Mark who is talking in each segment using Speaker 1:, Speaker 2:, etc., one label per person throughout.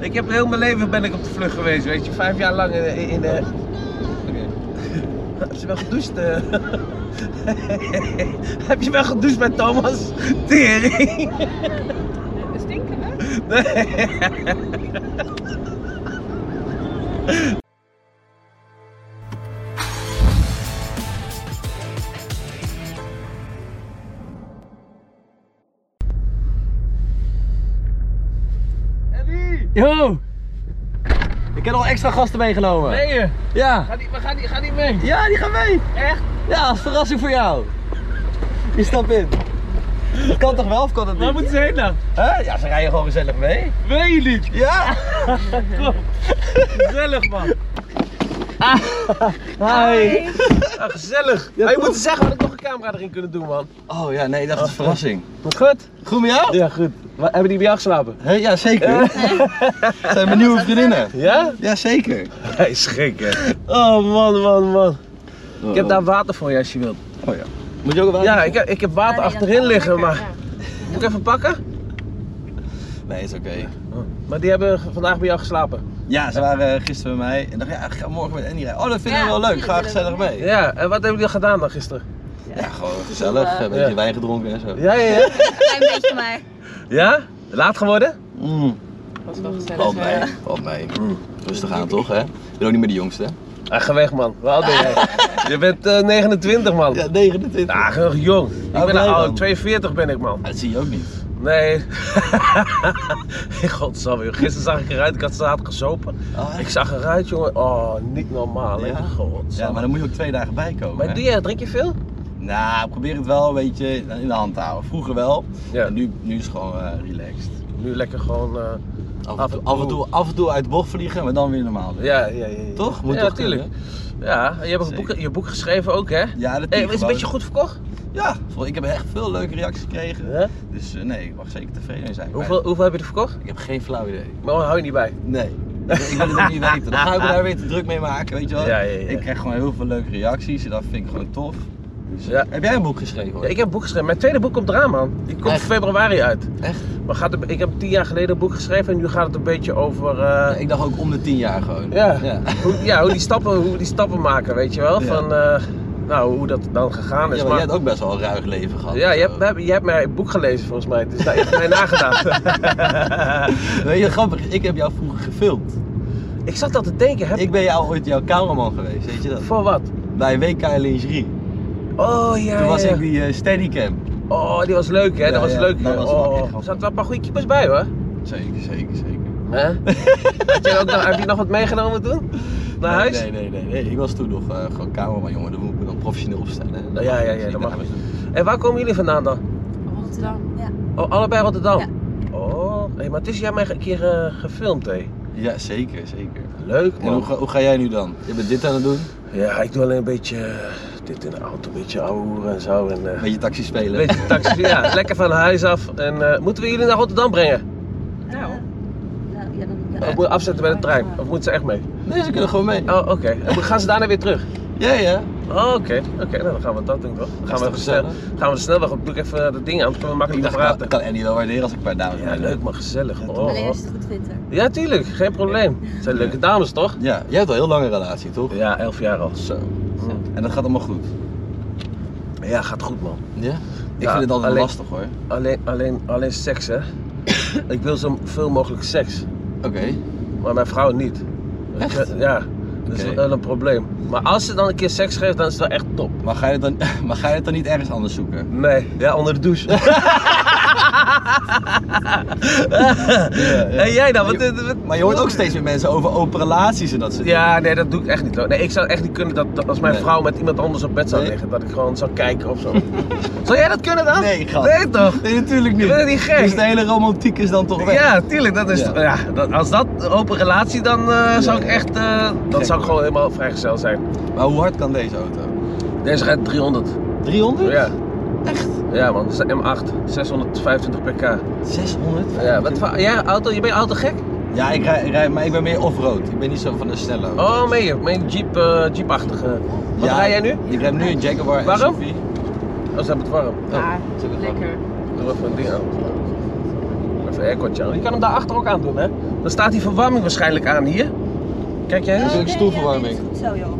Speaker 1: Ik heb heel mijn leven ben ik op de vlucht geweest, weet je. Vijf jaar lang in... in, in eh, heb je wel gedoucht? eh? heb je wel gedoucht bij Thomas? Tering!
Speaker 2: Stinken hè?
Speaker 1: Ellie!
Speaker 3: Yo! Ik heb al extra gasten meegenomen.
Speaker 1: Nee je?
Speaker 3: Ja.
Speaker 1: eh, Ga die, maar ga die, ga die mee.
Speaker 3: Ja, die gaan mee.
Speaker 1: Echt?
Speaker 3: Ja, als verrassing voor jou. Je stapt in. Dat kan toch wel of kan dat
Speaker 1: Waar
Speaker 3: niet?
Speaker 1: moeten ze heen dan?
Speaker 3: Hè? Ja, ze rijden gewoon gezellig mee.
Speaker 1: Weet je niet?
Speaker 3: Ja!
Speaker 1: Gezellig man.
Speaker 3: Hi!
Speaker 1: Ah, gezellig.
Speaker 3: Ja,
Speaker 1: maar je
Speaker 3: toch?
Speaker 1: moet zeggen, we hadden nog een camera erin kunnen doen man.
Speaker 3: Oh ja, nee, dat is een verrassing.
Speaker 1: Goed?
Speaker 3: Goed met jou?
Speaker 1: Oh. Ja, goed. Maar hebben die bij jou geslapen?
Speaker 3: Hè, ja, zeker. Dat zijn mijn nieuwe vriendinnen.
Speaker 1: Ja?
Speaker 3: Ja, zeker.
Speaker 1: Hij is gek hè. Oh man, man, man. Ik heb daar water voor je als je wilt.
Speaker 3: Oh ja. Oh. Moet je ook wel?
Speaker 1: Ja, ik heb, ik heb water
Speaker 2: Ja, nee, dat
Speaker 1: achterin
Speaker 2: is
Speaker 1: liggen,
Speaker 2: lekker,
Speaker 1: maar moet ik even pakken?
Speaker 3: Nee, is oké.
Speaker 1: Oh, Maar die hebben vandaag bij jou geslapen.
Speaker 3: Ja, ze waren eh, gisteren bij mij en dacht ja, ik ga morgen met Andy rijden. Oh, dat vinden we wel
Speaker 2: Ja,
Speaker 3: leuk. Ga
Speaker 2: natuurlijk
Speaker 3: gezellig mee.
Speaker 1: Ja, en wat hebben jullie gedaan dan gisteren?
Speaker 3: Ja, gewoon gezellig.
Speaker 2: Ja.
Speaker 3: Een beetje wijn gedronken en zo.
Speaker 1: Ja, ja, ja.
Speaker 2: ja. Klein beetje maar.
Speaker 1: Ja? Laat geworden?
Speaker 3: Mm.
Speaker 2: Dat is wel gezellig.
Speaker 3: Valt mee, valt mee. Mm. Rustig aan toch, hè? Ik ben ook niet meer de jongste.
Speaker 1: Ah, ga weg man. Hoe oud ben jij? Je bent eh, 29 man.
Speaker 3: Ja, 29.
Speaker 1: Ah, heel erg jong. Ik
Speaker 3: Ah,
Speaker 1: ben
Speaker 3: blij
Speaker 1: oud,
Speaker 3: dan.
Speaker 1: 42 ben ik man.
Speaker 3: Nou, Dat zie je ook niet.
Speaker 1: Nee. Godsamme, joh. gisteren zag ik eruit, ik had zaterdag gesopen.
Speaker 3: Ah,
Speaker 1: Ik zag eruit jongen, oh niet normaal hè.
Speaker 3: Ja?
Speaker 1: Godsamme.
Speaker 3: Ja, maar dan moet je ook twee dagen bij komen.
Speaker 1: Maar
Speaker 3: hè?
Speaker 1: doe je, drink je veel?
Speaker 3: Nou, probeer het wel een beetje in de hand te houden. Vroeger wel,
Speaker 1: Ja.
Speaker 3: en nu, nu is het gewoon eh, relaxed.
Speaker 1: Nu lekker gewoon... eh,
Speaker 3: Af en,
Speaker 1: Af
Speaker 3: toe,
Speaker 1: en
Speaker 3: af, en
Speaker 1: toe.
Speaker 3: toe, af en toe uit de bocht vliegen, maar dan weer normaal. doen.
Speaker 1: Ja, ja, ja. ja.
Speaker 3: Toch? Moet
Speaker 1: ja,
Speaker 3: toch
Speaker 1: natuurlijk.
Speaker 3: kunnen?
Speaker 1: Ja, je hebt ook een
Speaker 3: Zeker.
Speaker 1: boek, je boek geschreven ook, hè?
Speaker 3: Ja,
Speaker 1: Hey,
Speaker 3: dat doe
Speaker 1: is
Speaker 3: ik
Speaker 1: het een
Speaker 3: gewoon.
Speaker 1: beetje goed verkocht?
Speaker 3: Ja, vol- ik heb echt veel leuke reacties gekregen.
Speaker 1: Ja?
Speaker 3: Dus eh, nee, ik mag zeker tevreden mee zijn.
Speaker 1: Hoeveel, hoeveel heb je er verkocht?
Speaker 3: Ik heb geen flauw idee.
Speaker 1: Maar hou je niet bij.
Speaker 3: Nee. ik wil het ook niet weten. Dan ga ik me daar weer te druk mee maken, weet je wel.
Speaker 1: Ja, ja, ja.
Speaker 3: Ik krijg gewoon heel veel leuke reacties en dat vind ik gewoon tof. Dus,
Speaker 1: Ja.
Speaker 3: Heb jij een boek geschreven? Hoor?
Speaker 1: Ja, ik heb een boek geschreven. Mijn tweede boek komt eraan, man. Die komt
Speaker 3: Echt?
Speaker 1: februari uit.
Speaker 3: Echt?
Speaker 1: Maar gaat het- ik heb tien jaar geleden een boek geschreven en nu gaat het een beetje over.
Speaker 3: Ja,
Speaker 1: eh,
Speaker 3: ik dacht ook om de tien jaar gewoon.
Speaker 1: Ja.
Speaker 3: ja.
Speaker 1: hoe, ja, hoe die stappen, hoe die stappen maken, weet je wel?
Speaker 3: Ja.
Speaker 1: Van, eh, nou, hoe dat dan gegaan is.
Speaker 3: Ja, maar
Speaker 1: maar-
Speaker 3: jij hebt ook best wel een ruig leven gehad.
Speaker 1: ja, je
Speaker 3: Zo.
Speaker 1: hebt, we hebben- je hebt mijn boek gelezen volgens mij, dus daar heb je mij nagedacht.
Speaker 3: Weet je, grappig, ik heb jou vroeger gefilmd.
Speaker 1: Ik zat al te denken, heb
Speaker 3: Ik ben jou ooit jouw cameraman geweest, weet je dat?
Speaker 1: voor wat?
Speaker 3: Bij WK Lingerie.
Speaker 1: Oh ja.
Speaker 3: Toen was
Speaker 1: ja.
Speaker 3: ik die eh, steadycam.
Speaker 1: Oh, die was leuk, hè?
Speaker 3: Ja,
Speaker 1: dat was
Speaker 3: ja,
Speaker 1: leuk.
Speaker 3: dat was wel
Speaker 1: oh,
Speaker 3: echt
Speaker 1: er
Speaker 3: grappig.
Speaker 1: zaten wel een paar goede keepers bij, hoor.
Speaker 3: Zeker, zeker, zeker.
Speaker 1: Hè? Had jij ook nog- heb je nog wat meegenomen toen? Naar
Speaker 3: nee,
Speaker 1: huis?
Speaker 3: Nee, nee, nee, nee. Ik was toen nog eh, gewoon cameraman, jongen. Dan moet ik me dan professioneel opstellen.
Speaker 1: Ja, ja, ja,
Speaker 3: Dus ik
Speaker 1: dat
Speaker 3: dacht,
Speaker 1: mag
Speaker 3: ja,
Speaker 1: En waar komen jullie vandaan dan?
Speaker 2: Rotterdam. Ja.
Speaker 1: Oh, allebei Rotterdam? Oh, hey, maar tussen jij mij een keer eh, gefilmd, hé.
Speaker 3: Ja, zeker, zeker.
Speaker 1: Leuk,
Speaker 3: En
Speaker 1: man.
Speaker 3: hoe, ga- hoe ga jij nu dan? Je bent dit aan het doen,
Speaker 1: Ja, ik doe alleen een beetje eh, dit in de auto, een beetje ouwe en zo. En, eh,
Speaker 3: een beetje taxi spelen.
Speaker 1: een beetje taxi, ja, lekker van huis af. En eh, moeten we jullie naar Rotterdam brengen?
Speaker 2: Nou. Nou, ja, dan,
Speaker 1: Of
Speaker 2: ja.
Speaker 1: moeten we afzetten bij de trein? Oh. Of moeten ze echt mee?
Speaker 3: Nee, ze kunnen gewoon mee.
Speaker 1: Oh, oké. En Gaan ze daarna weer terug?
Speaker 3: Ja, ja.
Speaker 1: Oh, oké. Oké, nou, dan gaan we dat doen, toch? Dan gaan
Speaker 3: is
Speaker 1: we,
Speaker 3: toch
Speaker 1: even snel,
Speaker 3: gezellig?
Speaker 1: gaan we de snelweg op. Doe ik even dat ding aan, dan kunnen we
Speaker 3: Ik
Speaker 1: makkelijk
Speaker 3: dacht,
Speaker 1: praten.
Speaker 3: ik kan Andy wel waarderen als ik een paar dames
Speaker 1: Ja,
Speaker 3: meeneem.
Speaker 1: leuk, maar gezellig. Oh,
Speaker 2: Alleen
Speaker 1: oh.
Speaker 2: als je het goed vindt hè.
Speaker 1: Ja, tuurlijk. Geen probleem. Het zijn leuke dames, toch?
Speaker 3: Ja, jij hebt al heel lange relatie, toch?
Speaker 1: Ja, elf jaar al.
Speaker 3: Zo.
Speaker 1: Zo.
Speaker 3: En dat gaat allemaal goed.
Speaker 1: Ja, gaat goed, man.
Speaker 3: Ja? Ik
Speaker 1: Ja,
Speaker 3: vind het altijd
Speaker 1: alleen-
Speaker 3: lastig hoor.
Speaker 1: Alleen, alleen, alleen seks, hè? ik wil zo veel mogelijk seks.
Speaker 3: Oké.
Speaker 1: Maar mijn vrouw niet.
Speaker 3: Echt?
Speaker 1: Eh, Ja. Dat is
Speaker 3: Oké.
Speaker 1: wel een probleem. Maar als ze dan een keer seks geeft, dan is dat echt top.
Speaker 3: Maar ga, je het dan, maar ga je het dan niet ergens anders zoeken?
Speaker 1: Nee, ja, onder de douche. En jij dan? Wat, wat- wat-
Speaker 3: Maar je hoort ook steeds meer mensen over open relaties en dat soort
Speaker 1: Ja, nee, dat doe ik echt niet. hoor. Nee, ik zou echt niet kunnen dat, dat als mijn
Speaker 3: Nee.
Speaker 1: vrouw met iemand anders op bed zou
Speaker 3: Nee.
Speaker 1: liggen, dat ik gewoon zou kijken of zo. zou jij dat kunnen dan?
Speaker 3: Nee, gast.
Speaker 1: Nee, toch?
Speaker 3: Nee, natuurlijk niet.
Speaker 1: Ik ben niet gek.
Speaker 3: Dus de hele romantiek is dan toch weg.
Speaker 1: Ja, tuurlijk. Dat is,
Speaker 3: Ja.
Speaker 1: ja. dat, als dat een open relatie, dan eh, zou ik
Speaker 3: ja.
Speaker 1: echt, eh, dan zou
Speaker 3: Gek,
Speaker 1: ik
Speaker 3: hoor.
Speaker 1: gewoon helemaal vrijgezel zijn.
Speaker 3: Maar hoe hard kan deze auto?
Speaker 1: Deze rijdt 300.
Speaker 3: 300?
Speaker 1: Ja,
Speaker 3: Echt? Ah,
Speaker 1: ja man, dat is een M8, 625 pk.
Speaker 3: 600?
Speaker 1: Ja, wat voor, ja, auto, je bent auto gek?
Speaker 3: Ja, ik rij, ik rij, maar ik ben meer off-road. Ik ben niet zo van de snelle auto.
Speaker 1: Oh, meen je? Meen je Jeep, eh, Jeep-achtige. Wat
Speaker 3: Ja,
Speaker 1: rij jij nu?
Speaker 3: Ik rij nu een Jaguar
Speaker 1: Waarom?
Speaker 3: SUV.
Speaker 1: Oh, ze hebben het warm.
Speaker 2: Ja,
Speaker 3: zullen we
Speaker 2: lekker.
Speaker 1: Doe even een ding aan. Even aircootje aan. Je kan hem daar achter ook aan doen, hè? Dan staat die verwarming waarschijnlijk aan hier. Kijk jij
Speaker 2: Ja,
Speaker 1: eens?
Speaker 3: is ook
Speaker 2: oké,
Speaker 3: stoelverwarming.
Speaker 2: Ja, dit is goed zo, joh.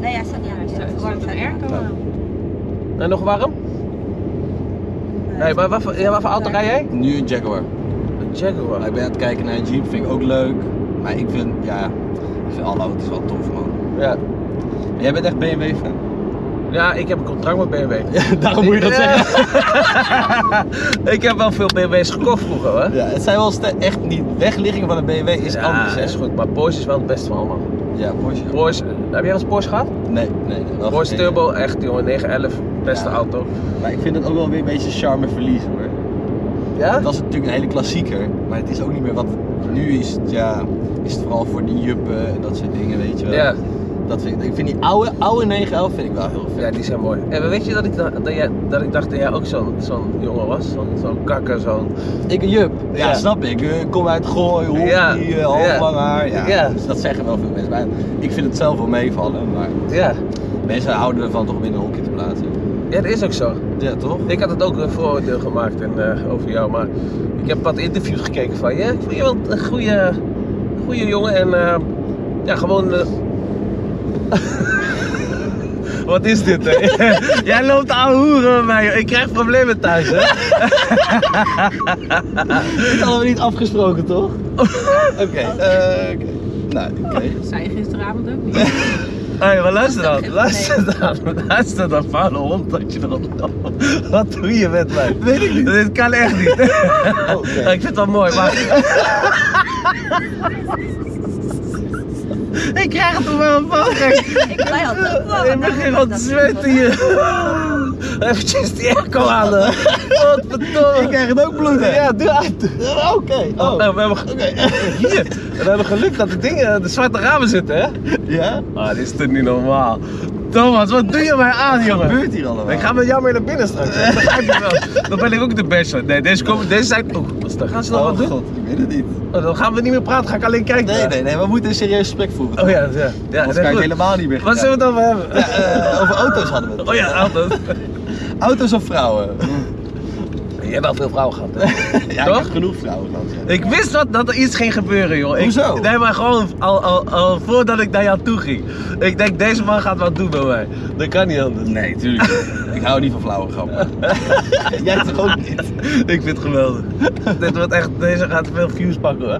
Speaker 2: Nee, hij staat niet aan.
Speaker 4: staat-
Speaker 2: Ja,
Speaker 4: er
Speaker 2: verwarmd
Speaker 4: staat een
Speaker 2: staat
Speaker 4: airco
Speaker 2: hij aan.
Speaker 1: En nog warm?
Speaker 2: Oh.
Speaker 1: Nee, maar wat voor, ja, wat voor auto rij jij?
Speaker 3: Nu een Jaguar.
Speaker 1: Een Jaguar.
Speaker 3: Ik ben aan het kijken naar een Jeep, vind ik ook leuk. Maar ik vind, ja, ik vind alle auto's wel tof man.
Speaker 1: Ja.
Speaker 3: Jij bent echt BMW fan.
Speaker 1: ja, ik heb een contract met BMW.
Speaker 3: Ja, daarom moet je
Speaker 1: Ja.
Speaker 3: dat zeggen.
Speaker 1: ik heb wel veel BMW's gekocht vroeger, hoor.
Speaker 3: Ja, het zijn wel ste- echt niet, wegliggingen van een BMW is
Speaker 1: Ja,
Speaker 3: anders hè.
Speaker 1: is goed, maar Porsche is wel het beste van allemaal.
Speaker 3: Ja, Porsche.
Speaker 1: Porsche, heb jij wel eens Porsche gehad?
Speaker 3: Nee, nee, nee. wel
Speaker 1: Porsche
Speaker 3: geen-
Speaker 1: Turbo, echt jongen, 911, beste
Speaker 3: Ja.
Speaker 1: auto.
Speaker 3: Maar ik vind het ook wel weer een beetje charme verliezen hoor.
Speaker 1: Ja?
Speaker 3: Het was natuurlijk een hele klassieker, maar het is ook niet meer wat het nu is. Het, ja, is het vooral voor die juppen en dat soort dingen, weet je wel.
Speaker 1: Ja.
Speaker 3: Dat vind ik, ik vind die oude, oude 911 vind ik wel heel vet.
Speaker 1: Ja, die zijn mooi. En weet je dat ik, da- dat jij, dat ik dacht dat jij ook zo'n zo'n jongen was? Zo'n zo'n kakker, zo'n...
Speaker 3: Ik een jup. Ja,
Speaker 1: Ja.
Speaker 3: snap ik. Eh, Kom uit Gooi, hockey,
Speaker 1: Ja.
Speaker 3: eh, half
Speaker 1: Ja.
Speaker 3: lang haar. Ja.
Speaker 1: Ja.
Speaker 3: Dus dat zeggen wel veel mensen. Maar ik vind het zelf wel meevallen, maar
Speaker 1: Ja.
Speaker 3: mensen houden ervan toch om in een hokje te plaatsen.
Speaker 1: ja, dat is ook zo.
Speaker 3: Ja, toch?
Speaker 1: Ik had het ook een vooroordeel gemaakt en, eh, over jou, maar ik heb wat interviews gekeken van je. Ik vond je wel een goede, goede jongen en eh, ja, gewoon... eh, Wat is dit, hè? Jij loopt aan hoeren met mij, joh. Ik krijg problemen thuis, hè?
Speaker 3: Dat hadden we niet afgesproken, toch? Oké. eh, oké. Nou, oké.
Speaker 4: Dat zei je gisteravond ook niet.
Speaker 1: Hé, maar luister
Speaker 2: Dat is
Speaker 1: dan,
Speaker 2: ook
Speaker 1: luister dan, luister dan, vuile hond dat je erop loopt. Wat doe je met mij?
Speaker 3: Weet ik niet.
Speaker 1: Dit kan echt niet.
Speaker 3: Oké.
Speaker 1: Ik vind het wel mooi, maar... ik krijg het toch wel een poging.
Speaker 2: Ik blij had het ook wel.
Speaker 1: Ik
Speaker 2: want daarom
Speaker 1: begin
Speaker 2: is
Speaker 1: al te
Speaker 2: dat-
Speaker 1: zweten hier. Eventjes die airco aan. hè. Wat
Speaker 3: Ik
Speaker 1: verdomme.
Speaker 3: krijg het ook bloed, hè?
Speaker 1: Ja, doe uit.
Speaker 3: Oké.
Speaker 1: Oh,
Speaker 3: Oh.
Speaker 1: nou, we hebben, ge- Hier, we hebben geluk dat de dingen, de zwarte ramen zitten, hè?
Speaker 3: Ja?
Speaker 1: Ah, dit is toch niet normaal. Thomas, wat doe je mij aan,
Speaker 3: Wat
Speaker 1: jongen?
Speaker 3: gebeurt hier allemaal?
Speaker 1: Ik ga met jou mee naar binnen straks. hè. Dat begrijp je wel. Dan ben ik ook de bachelor. Nee, deze, komen, deze zijn... Oeh, wat is dat? Gaan ze nog
Speaker 3: Oh
Speaker 1: wat doen?
Speaker 3: god, ik weet het niet.
Speaker 1: Oh, dan gaan we niet meer praten, ga ik alleen kijken.
Speaker 3: Nee, nee, nee, we moeten een serieus gesprek voeren.
Speaker 1: Oh ja, ja. ja
Speaker 3: Anders
Speaker 1: dat
Speaker 3: kan ik
Speaker 1: is
Speaker 3: het
Speaker 1: goed.
Speaker 3: helemaal niet meer
Speaker 1: Wat zullen we dan hebben?
Speaker 3: Ja, eh, over auto's hadden we het.
Speaker 1: Oh ja, altijd.
Speaker 3: Auto's of vrouwen?
Speaker 1: Je hebt wel veel vrouwen gehad, hè?
Speaker 3: ja, ik
Speaker 1: Toch?
Speaker 3: heb genoeg vrouwen gehad. ja.
Speaker 1: Ik wist dat, dat er iets ging gebeuren, joh. Ik-
Speaker 3: Hoezo?
Speaker 1: nee, maar gewoon al, al, al voordat ik naar jou toe ging. Ik denk, deze man gaat wat doen bij mij. Dat kan niet anders.
Speaker 3: Nee, tuurlijk. niet. ik hou niet van flauwe grappen. Jij toch ook niet?
Speaker 1: Ik vind het geweldig. Dit wordt echt, deze gaat veel views pakken, hoor.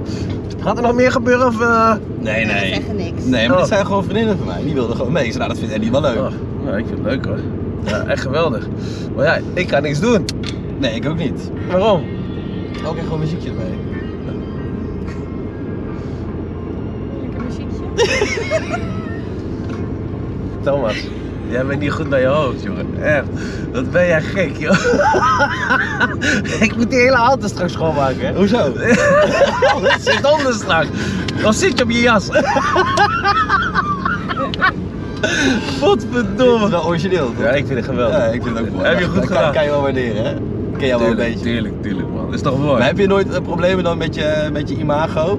Speaker 1: Gaat er nog meer gebeuren of... eh?
Speaker 3: Nee,
Speaker 2: We
Speaker 3: nee.
Speaker 2: zeggen niks.
Speaker 3: Nee, maar dit
Speaker 1: Oh.
Speaker 3: zijn gewoon vriendinnen van mij. Die wilden gewoon mee. Ik zei, nou, dat vindt Eddie wel leuk.
Speaker 1: Oh, nou, ik vind het leuk, hoor. Ja, echt geweldig. Maar ja, ik kan niks doen.
Speaker 3: Nee, ik ook niet.
Speaker 1: Waarom?
Speaker 3: Ook echt gewoon muziekje erbij.
Speaker 4: Lekker muziekje.
Speaker 1: Thomas, jij bent niet goed naar je hoofd, jongen. Echt. Wat ben jij gek, joh. ik moet die hele auto straks schoonmaken, hè.
Speaker 3: Hoezo?
Speaker 1: Oh, dat zit anders straks. Dan zit je op je jas.
Speaker 3: Dit is
Speaker 1: Godverdomme.
Speaker 3: wel origineel, toch?
Speaker 1: Ja, ik vind het geweldig.
Speaker 3: Ja, ik vind het ook mooi.
Speaker 1: Heb je goed
Speaker 3: Dat kan-
Speaker 1: gedaan.
Speaker 3: kan je wel waarderen, hè? Ken jij wel een beetje.
Speaker 1: Tuurlijk, tuurlijk, man. Dat is toch mooi?
Speaker 3: Maar heb je nooit eh, problemen dan met je, met je imago?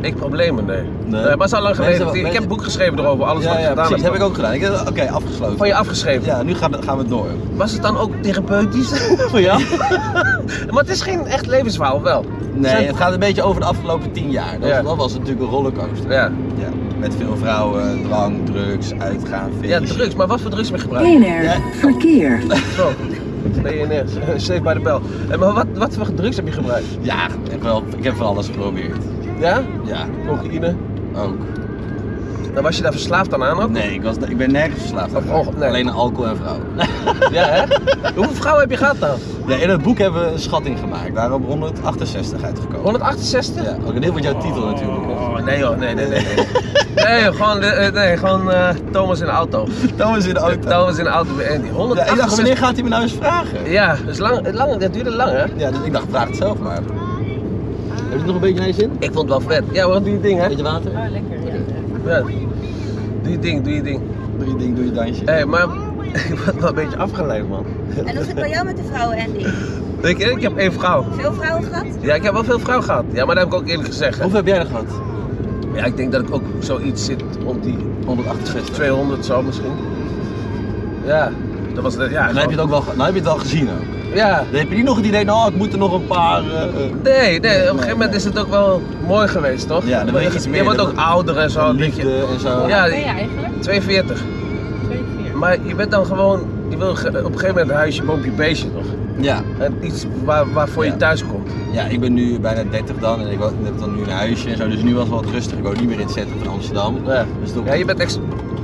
Speaker 1: Ik problemen, nee.
Speaker 3: Nee.
Speaker 1: nee. maar het is al lang
Speaker 3: Mensen-
Speaker 1: geleden. ik
Speaker 3: mensen-
Speaker 1: heb een boek geschreven erover, alles wat
Speaker 3: ja,
Speaker 1: ik
Speaker 3: ja,
Speaker 1: gedaan
Speaker 3: precies.
Speaker 1: heb.
Speaker 3: heb ik ook gedaan. Ik heb- Oké, afgesloten.
Speaker 1: Van je afgeschreven.
Speaker 3: Ja, nu gaan we, gaan we door.
Speaker 1: Was het dan ook therapeutisch voor jou? maar het is geen echt levensverhaal, wel.
Speaker 3: Nee,
Speaker 1: Zijn-
Speaker 3: het gaat een beetje over de afgelopen tien jaar. Dat,
Speaker 1: Ja.
Speaker 3: dat was natuurlijk een rollercoaster.
Speaker 1: Ja.
Speaker 3: Ja, Met veel vrouwen, drank, drugs, uitgaan,
Speaker 1: ja,
Speaker 3: feestjes.
Speaker 1: drugs. Maar wat voor drugs ben je gebruikt?
Speaker 5: BNR Verkeer.
Speaker 1: Zo. BNS, eh, Safe by the Bell. En maar wat, wat voor drugs heb je gebruikt?
Speaker 3: Ja, ik heb, wel, ik heb van alles geprobeerd.
Speaker 1: Ja?
Speaker 3: Ja,
Speaker 1: Cocaïne.
Speaker 3: ook.
Speaker 1: Dan was je daar verslaafd aan aan ook?
Speaker 3: Nee, ik, was, ik ben nergens verslaafd aan.
Speaker 1: Oh, oh, nee.
Speaker 3: Alleen aan alcohol en vrouwen.
Speaker 1: Ja, hè? Hoeveel vrouwen heb je gehad dan?
Speaker 3: Ja, in het boek hebben we een schatting gemaakt. Daar op 168 uitgekomen.
Speaker 1: 168?
Speaker 3: Oh, Ja, ook een deel van jouw titel natuurlijk.
Speaker 1: Oh, nee joh, nee, nee, nee. Nee, nee joh, gewoon, eh, nee, gewoon eh, Thomas in de auto.
Speaker 3: Thomas in de auto.
Speaker 1: Thomas in de auto bij Andy.
Speaker 3: Ja, ik dacht,
Speaker 1: 168.
Speaker 3: wanneer gaat hij me nou eens vragen?
Speaker 1: Ja, dus lang, lang, dat duurde lang hè?
Speaker 3: Ja, dus ik dacht, vraag het zelf maar. Heb je het nog een beetje naar je zin?
Speaker 1: Ik vond het wel vet. Ja, want doe je ding hè?
Speaker 3: Beetje water?
Speaker 4: Oh, lekker. Ja.
Speaker 1: Ja. Doe je ding, doe je ding.
Speaker 3: Doe je ding, doe je dansje.
Speaker 1: Hé, maar ik word wel een beetje afgeleid man.
Speaker 2: En hoe zit het bij jou met de vrouwen, Andy?
Speaker 1: Ik, ik heb één vrouw.
Speaker 2: Veel vrouwen gehad?
Speaker 1: Ja, ik heb wel veel vrouw gehad. Ja, maar dat heb ik ook eerlijk gezegd. hè.
Speaker 3: Hoeveel heb jij er gehad?
Speaker 1: Ja, ik denk dat ik ook zoiets zit om die
Speaker 3: 168.
Speaker 1: 200 zo misschien. Ja, dat was de, ja.
Speaker 3: En dan heb je het ook wel, ge- nou heb je het wel gezien ook.
Speaker 1: ook. Ja.
Speaker 3: Dan heb je niet nog het idee, nou, ik moet er nog een paar... eh, eh,
Speaker 1: Nee, nee, op een gegeven moment is het ook wel mooi geweest, toch?
Speaker 3: Ja, dan weet je iets meer.
Speaker 1: Je wordt
Speaker 3: Dan-
Speaker 1: ook ouder en zo. dat je-
Speaker 3: liefde en zo.
Speaker 1: Ja,
Speaker 4: Ja, ben je eigenlijk?
Speaker 1: 42.
Speaker 4: 42.
Speaker 1: Maar je bent dan gewoon, je wil ge- op een gegeven moment een huisje, boompje, beestje nog.
Speaker 3: ja.
Speaker 1: En Eh, iets waar, waarvoor
Speaker 3: Ja.
Speaker 1: je thuis komt.
Speaker 3: Ja, ik ben nu bijna 30 dan en ik wo- heb dan nu een huisje en zo, dus nu was het wel wat rustig. Ik woon niet meer in het centrum van Amsterdam.
Speaker 1: Ja,
Speaker 3: Dus toen-
Speaker 1: ja je bent ex-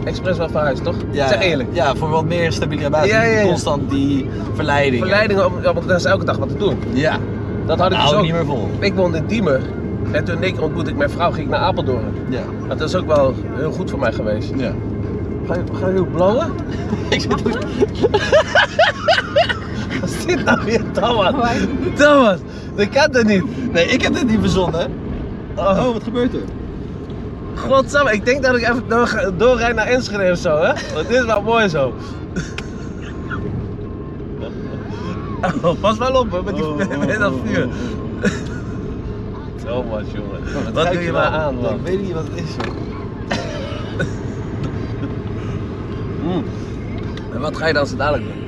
Speaker 1: expres wel verhuisd, toch?
Speaker 3: ja,
Speaker 1: zeg eerlijk.
Speaker 3: Ja, voor wat meer stabiele basis.
Speaker 1: Ja, ja, ja.
Speaker 3: Constant die verleiding.
Speaker 1: Verleidingen, om, ja, want daar is elke dag wat te doen.
Speaker 3: Ja,
Speaker 1: Dat had ik
Speaker 3: hou
Speaker 1: dus
Speaker 3: ik
Speaker 1: ook.
Speaker 3: Nou, niet meer vol.
Speaker 1: Ik woonde in Diemen. En toen ik ontmoette ik mijn vrouw, ging ik naar Apeldoorn.
Speaker 3: Ja.
Speaker 1: Dat is ook wel heel goed voor mij geweest.
Speaker 3: ja.
Speaker 1: Ga je, ga je ook blauwen?
Speaker 3: ik zit ook...
Speaker 1: Wat is dit nou weer?
Speaker 4: Oh,
Speaker 1: Thomas,
Speaker 4: hij-
Speaker 1: Thomas, dat kan dat niet.
Speaker 3: Nee, ik heb dit niet verzonnen.
Speaker 1: Oh.
Speaker 3: wat gebeurt er?
Speaker 1: Godsamme, ik denk dat ik even door, ga- doorrijd naar Enschede of zo, hè? Want dit is wel mooi zo. Oh, pas wel op, hè, met, die,
Speaker 3: Oh, oh,
Speaker 1: met dat
Speaker 3: oh,
Speaker 1: vuur.
Speaker 3: oh, oh.
Speaker 1: Thomas, jongen.
Speaker 3: Dat
Speaker 1: wat
Speaker 3: ruik
Speaker 1: doe je
Speaker 3: wel.
Speaker 1: maar aan,
Speaker 3: Ik
Speaker 1: man?
Speaker 3: weet niet wat het is. hoor.
Speaker 1: Mm. En wat ga je dan zo dadelijk doen?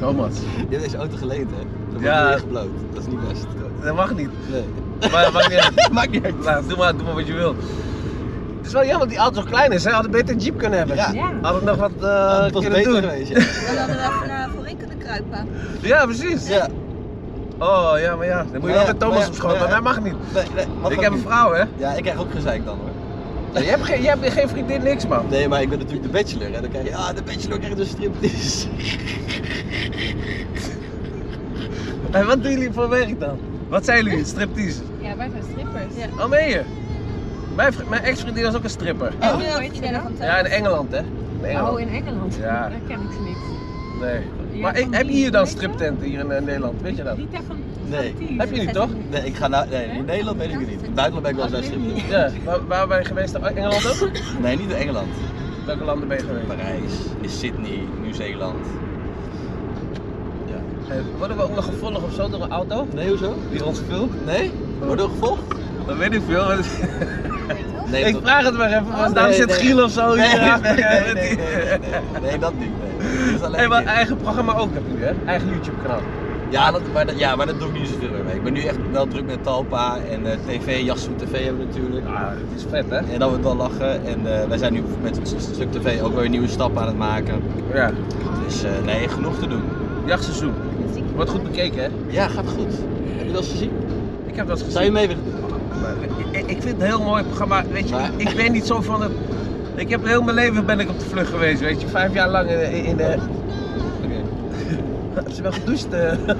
Speaker 1: Thomas.
Speaker 3: Je hebt deze auto geleend, hè? Dan word je
Speaker 1: Ja.
Speaker 3: weer gebloot. Dat is niet best.
Speaker 1: Dat mag niet.
Speaker 3: Nee.
Speaker 1: Maar, maakt niet uit.
Speaker 3: Maakt niet uit.
Speaker 1: Nou, doe, maar, doe maar wat je wilt. Het is wel jammer dat die auto zo klein is, hè? Hadden beter een jeep kunnen hebben.
Speaker 3: Ja.
Speaker 4: Ja.
Speaker 1: Hadden we nog wat eh,
Speaker 3: Dat was
Speaker 1: kunnen
Speaker 3: beter
Speaker 1: doen.
Speaker 3: geweest, ja.
Speaker 2: Dan hadden we even naar voorin kunnen kruipen.
Speaker 1: Ja, precies.
Speaker 3: Ja.
Speaker 1: Oh ja, maar ja, dan moet je
Speaker 3: Ja,
Speaker 1: wel met Thomas
Speaker 3: maar-
Speaker 1: op schoot,
Speaker 3: maar-
Speaker 1: maar mij mag niet.
Speaker 3: Nee, nee, mag
Speaker 1: ik
Speaker 3: ook
Speaker 1: heb een
Speaker 3: niet.
Speaker 1: vrouw, hè?
Speaker 3: Ja, ik krijg ook gezeik dan hoor.
Speaker 1: Ja, je, hebt geen, je hebt geen vriendin, niks man.
Speaker 3: Nee, maar ik ben natuurlijk de bachelor en dan krijg je, ah, de bachelor krijgt een striptease.
Speaker 1: En wat doen jullie voor werk dan? Wat zijn jullie, striptease?
Speaker 4: ja, wij zijn strippers.
Speaker 2: Ja.
Speaker 1: Oh, meen je? Mijn, vri- mijn ex-vriendin was ook een stripper.
Speaker 2: En
Speaker 4: Oh,
Speaker 2: nu
Speaker 4: weet
Speaker 2: ook
Speaker 4: je
Speaker 2: vriendinnen
Speaker 4: dat?
Speaker 2: van
Speaker 1: Ja,
Speaker 2: Thomas.
Speaker 1: in Engeland, hè? In Engeland.
Speaker 4: Oh, in Engeland.
Speaker 1: Ja.
Speaker 4: Daar ken ik ze niet.
Speaker 1: Nee.
Speaker 4: Ja,
Speaker 1: Maar ik,
Speaker 4: van
Speaker 1: heb je
Speaker 4: die-
Speaker 1: hier dan
Speaker 4: weet je?
Speaker 1: striptenten hier in, eh, Nederland? Weet je dat?
Speaker 4: Niet daarvan.
Speaker 3: Nee.
Speaker 1: Heb je niet, toch?
Speaker 3: Nee, ik ga nou, nee, in Nederland weet ik het niet. In het buitenland ben ik wel eens bij striptease.
Speaker 1: Ja. Waar, waar ben je geweest? In Engeland ook?
Speaker 3: Nee, niet in Engeland.
Speaker 1: Welke landen ben je geweest?
Speaker 3: Parijs, in Sydney, Nieuw-Zeeland. Ja.
Speaker 1: Eh, Worden we ook nog gevolgd of zo door een auto?
Speaker 3: Nee, hoezo?
Speaker 1: Die ons filmt?
Speaker 3: Nee? Worden we gevolgd?
Speaker 1: Dat weet ik veel. maar-
Speaker 3: Nee,
Speaker 1: ik
Speaker 3: dat-
Speaker 1: vraag het maar even, want daar
Speaker 3: Nee,
Speaker 1: zit
Speaker 3: nee.
Speaker 1: Giel of zo.
Speaker 3: Nee,
Speaker 1: hier
Speaker 3: nee,
Speaker 1: aan.
Speaker 3: nee, nee, nee, nee, nee. Nee, dat niet. Nee. Dat is alleen
Speaker 1: Hey, maar
Speaker 3: dit.
Speaker 1: eigen programma ook heb je, hè? Eigen YouTube kanaal.
Speaker 3: Ja, dat, maar, dat, ja, maar dat doe ik niet zoveel meer mee. Ik ben nu echt wel druk met Talpa en eh, TV, Jassoen TV hebben we natuurlijk.
Speaker 1: Ja, het is vet hè?
Speaker 3: En dat wordt wel lachen. En eh, wij zijn nu met een stuk TV ook weer een nieuwe stap aan het maken.
Speaker 1: Ja.
Speaker 3: Dus eh, nee, genoeg te doen.
Speaker 1: Jachtseizoen. Wordt goed bekeken hè?
Speaker 3: Ja, gaat goed. Heb je dat eens gezien?
Speaker 1: Ik heb dat eens
Speaker 3: Zou je
Speaker 1: gezien.
Speaker 3: mee willen doen?
Speaker 1: Maar ik- Ik, ik vind het een heel mooi programma. Weet je,
Speaker 3: Maar-
Speaker 1: ik, ik ben niet zo van het. Ik heb heel mijn leven ben ik op de vlucht geweest, weet je. Vijf jaar lang in, in, in eh,
Speaker 3: Oké.
Speaker 1: Heb je wel gedoucht? eh?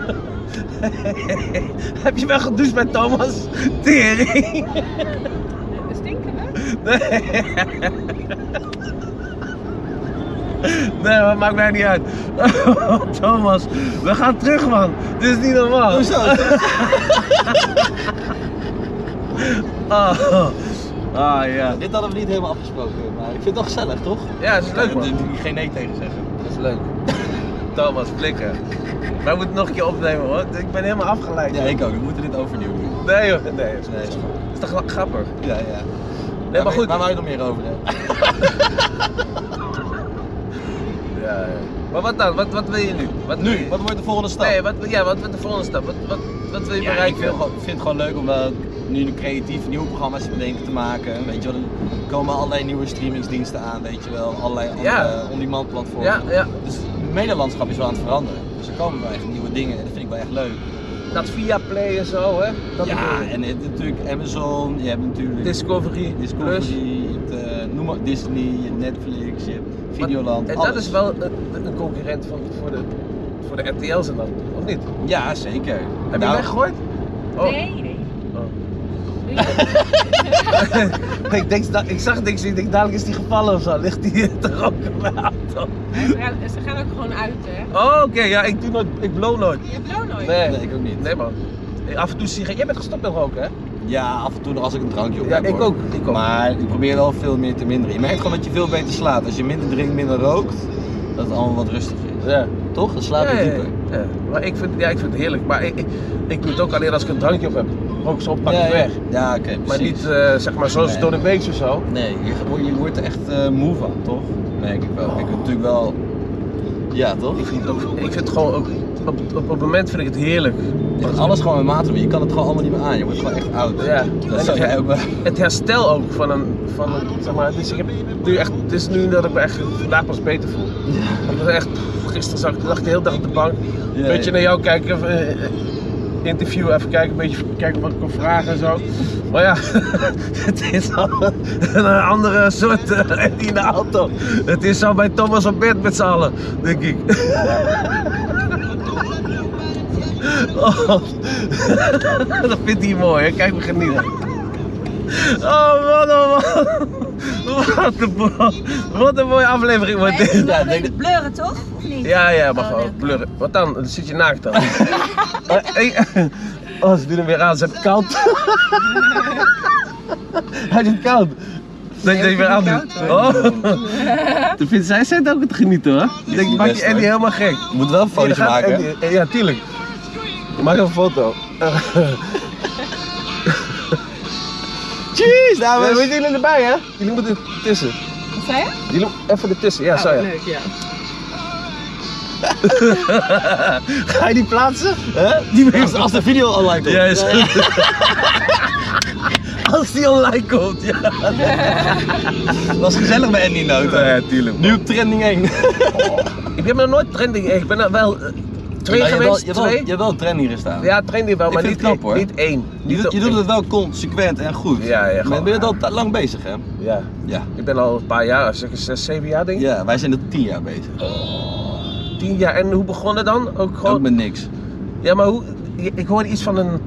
Speaker 1: heb je wel gedoucht bij Thomas? Tering!
Speaker 4: Stinken we?
Speaker 1: Nee. Nee, maar maakt mij niet uit. Thomas, we gaan terug man. Dit is niet normaal.
Speaker 3: Hoezo?
Speaker 1: Ah, ah. Ah, ja.
Speaker 3: Dit hadden we niet helemaal afgesproken, maar ik vind het wel gezellig, toch?
Speaker 1: Ja, het is leuk
Speaker 3: Ik
Speaker 1: man.
Speaker 3: kan er geen nee tegen zeggen.
Speaker 1: Dat is leuk. Thomas, blikken. Wij moeten nog een keer opnemen hoor. Ik ben helemaal afgeleid.
Speaker 3: Ja, ik ook. We moeten dit overnieuw doen.
Speaker 1: Nee hoor, nee. Het
Speaker 3: Nee, is goed.
Speaker 1: is toch wel grappig?
Speaker 3: Ja, ja.
Speaker 1: Nee, maar goed.
Speaker 3: Waar wou je nog meer over hebben?
Speaker 1: Ja, ja. Maar wat dan? Wat, wat wil je nu? Wat wil je?
Speaker 3: Wat wordt de volgende stap?
Speaker 1: Nee, wat, ja, wat, wat de volgende stap? Wat, wat, wat wil je
Speaker 3: Ja, ik
Speaker 1: bereiken?
Speaker 3: vind, gewoon- vind het gewoon leuk om eh, nu creatief nieuwe programma's te bedenken te maken. Weet je wel, er komen allerlei nieuwe streamingsdiensten aan, weet je wel. Allerlei andere
Speaker 1: Ja.
Speaker 3: on-demand platformen.
Speaker 1: ja, ja,
Speaker 3: Dus het medialandschap is wel aan het veranderen. Dus er komen wel echt nieuwe dingen en dat vind ik wel echt leuk.
Speaker 1: dat via Play en zo, hè? Dat
Speaker 3: ja,
Speaker 1: bedoel ik.
Speaker 3: en je hebt natuurlijk Amazon, je hebt natuurlijk
Speaker 1: Discovery,
Speaker 3: Discovery,
Speaker 1: Plus.
Speaker 3: je hebt, eh, noem maar Disney, je hebt Netflix, je hebt Videoland,
Speaker 1: En
Speaker 3: alles.
Speaker 1: dat is wel een, een concurrent van, voor, de, voor de RTL's en dan, of niet? Heb
Speaker 3: Ja, zeker.
Speaker 1: je
Speaker 3: Nou,
Speaker 1: hem weggegooid? Oh.
Speaker 4: Nee, nee.
Speaker 1: Oh.
Speaker 4: Doe je-
Speaker 1: ik, denk, dat- ik zag niks, ik denk dadelijk is die gevallen of zo. Ligt die te roken in mijn auto?
Speaker 4: Ze gaan- Ze gaan ook gewoon uit, hè?
Speaker 1: Oh, oké, ja, ik doe nooit, ik blow nooit.
Speaker 4: Je hebt loon nooit.
Speaker 1: Nee,
Speaker 3: Nee, ik ook niet.
Speaker 1: nee man. Af en toe zie je, jij bent gestopt met roken, hè?
Speaker 3: Ja, af en toe nog als ik een drankje op
Speaker 1: Ja,
Speaker 3: heb,
Speaker 1: ik
Speaker 3: hoor.
Speaker 1: ook, ik ook.
Speaker 3: Maar ik probeer wel veel meer te minderen. Je merkt gewoon dat je veel beter slaapt. Als je minder drinkt, minder rookt, dat het allemaal wat rustiger is.
Speaker 1: Ja.
Speaker 3: Toch? Dan slaap je
Speaker 1: Ja, ja,
Speaker 3: dieper.
Speaker 1: ja. Maar ik vind, ja, ik vind het heerlijk. Maar ik, ik, ik doe het ook alleen als ik een drankje op heb. Ook zo pak ik
Speaker 3: ja, ja.
Speaker 1: weg.
Speaker 3: Ja, oké,
Speaker 1: Maar
Speaker 3: precies.
Speaker 1: niet eh, zeg maar zoals
Speaker 3: Nee.
Speaker 1: door de week of zo.
Speaker 3: Nee, je, je wordt er echt eh, moe van, toch? Merk ik wel. Ik heb natuurlijk wel... Ja, toch?
Speaker 1: Ik vind het, ook, ik vind het gewoon ook, op, op, op het moment vind ik het heerlijk.
Speaker 3: Want alles gewoon met mate doen. Je kan het gewoon allemaal niet meer aan. Je wordt gewoon echt oud.
Speaker 1: Ja.
Speaker 3: Dat zou jij ook wel.
Speaker 1: Het herstel ook van een, van een zeg maar, dus ik heb nu echt, het is nu dat ik me echt vandaag pas beter voel. Ik was echt, pff, gisteren zag ik, lag ik de hele dag op de bank, een
Speaker 3: Ja,
Speaker 1: beetje
Speaker 3: ja.
Speaker 1: naar jou kijken, even, eh, eh, interview even kijken, een beetje kijken wat ik kon vragen en zo. Maar ja, het is al een, een andere soort eh, in de auto. Het is al bij Thomas op bed met z'n allen, denk ik. Oh, dat vindt hij mooi, hè? kijk me genieten. Oh man, oh man. Wat een, bo- wat een mooie aflevering wordt dit.
Speaker 3: Ja,
Speaker 2: Ja,
Speaker 3: ik denk dat-
Speaker 2: blurren toch? Of niet?
Speaker 1: Ja, ja, mag
Speaker 2: Oh,
Speaker 1: wel.
Speaker 2: nee.
Speaker 1: Blurren. Wat dan? Dan zit je naakt dan. oh, hey. oh, ze doen hem weer aan. Ze hebben koud. Hij zit koud. Dat je het weer aan doet. Oh. Dan vindt zij zit ook het genieten hoor. Ik denk,
Speaker 3: niet
Speaker 1: maak
Speaker 3: best,
Speaker 1: je Andy
Speaker 3: hoor.
Speaker 1: helemaal gek.
Speaker 3: Je moet wel een
Speaker 1: Hier,
Speaker 3: foto's
Speaker 1: daar gaat
Speaker 3: maken.
Speaker 1: Andy. Eh, Ja, tuurlijk. Maak een foto.
Speaker 3: Cheers, dames!
Speaker 1: moeten jullie erbij hè? Jullie moeten ertussen.
Speaker 4: Wat zei je?
Speaker 1: Jullie even ertussen. Ja, zo
Speaker 4: Oh,
Speaker 1: ja.
Speaker 4: leuk, ja.
Speaker 1: Ga je die plaatsen?
Speaker 3: Hè? Die als, als de video online komt.
Speaker 1: Ja, is goed. Als die online komt, ja.
Speaker 3: Dat was gezellig bij Andy Noten.
Speaker 1: Ja, tuurlijk.
Speaker 3: Nu op trending 1.
Speaker 1: Ik ben nog nooit trending. Ik ben er wel eh, twee
Speaker 3: Maar Nou, je hebt wel-
Speaker 1: geweest.
Speaker 3: je hebt wel-
Speaker 1: twee.
Speaker 3: Je hebt wel trending gestaan.
Speaker 1: ja, trending wel,
Speaker 3: Ik
Speaker 1: maar
Speaker 3: vind
Speaker 1: niet,
Speaker 3: het knap, hoor.
Speaker 1: niet één.
Speaker 3: Je,
Speaker 1: Niet
Speaker 3: doet, je
Speaker 1: op
Speaker 3: doet
Speaker 1: één.
Speaker 3: het wel consequent en goed.
Speaker 1: Ja, ja,
Speaker 3: Maar
Speaker 1: gewoon,
Speaker 3: ben je
Speaker 1: ja.
Speaker 3: al ta- lang bezig, hè?
Speaker 1: Ja.
Speaker 3: Ja.
Speaker 1: Ik ben al een paar jaar, zeg zes, zeven jaar denk ik.
Speaker 3: Ja, wij zijn er tien jaar bezig.
Speaker 1: Tien jaar. En hoe begon het dan? Ook gewoon.
Speaker 3: Ook met niks.
Speaker 1: Ja, maar hoe. je- Ik hoorde iets van een.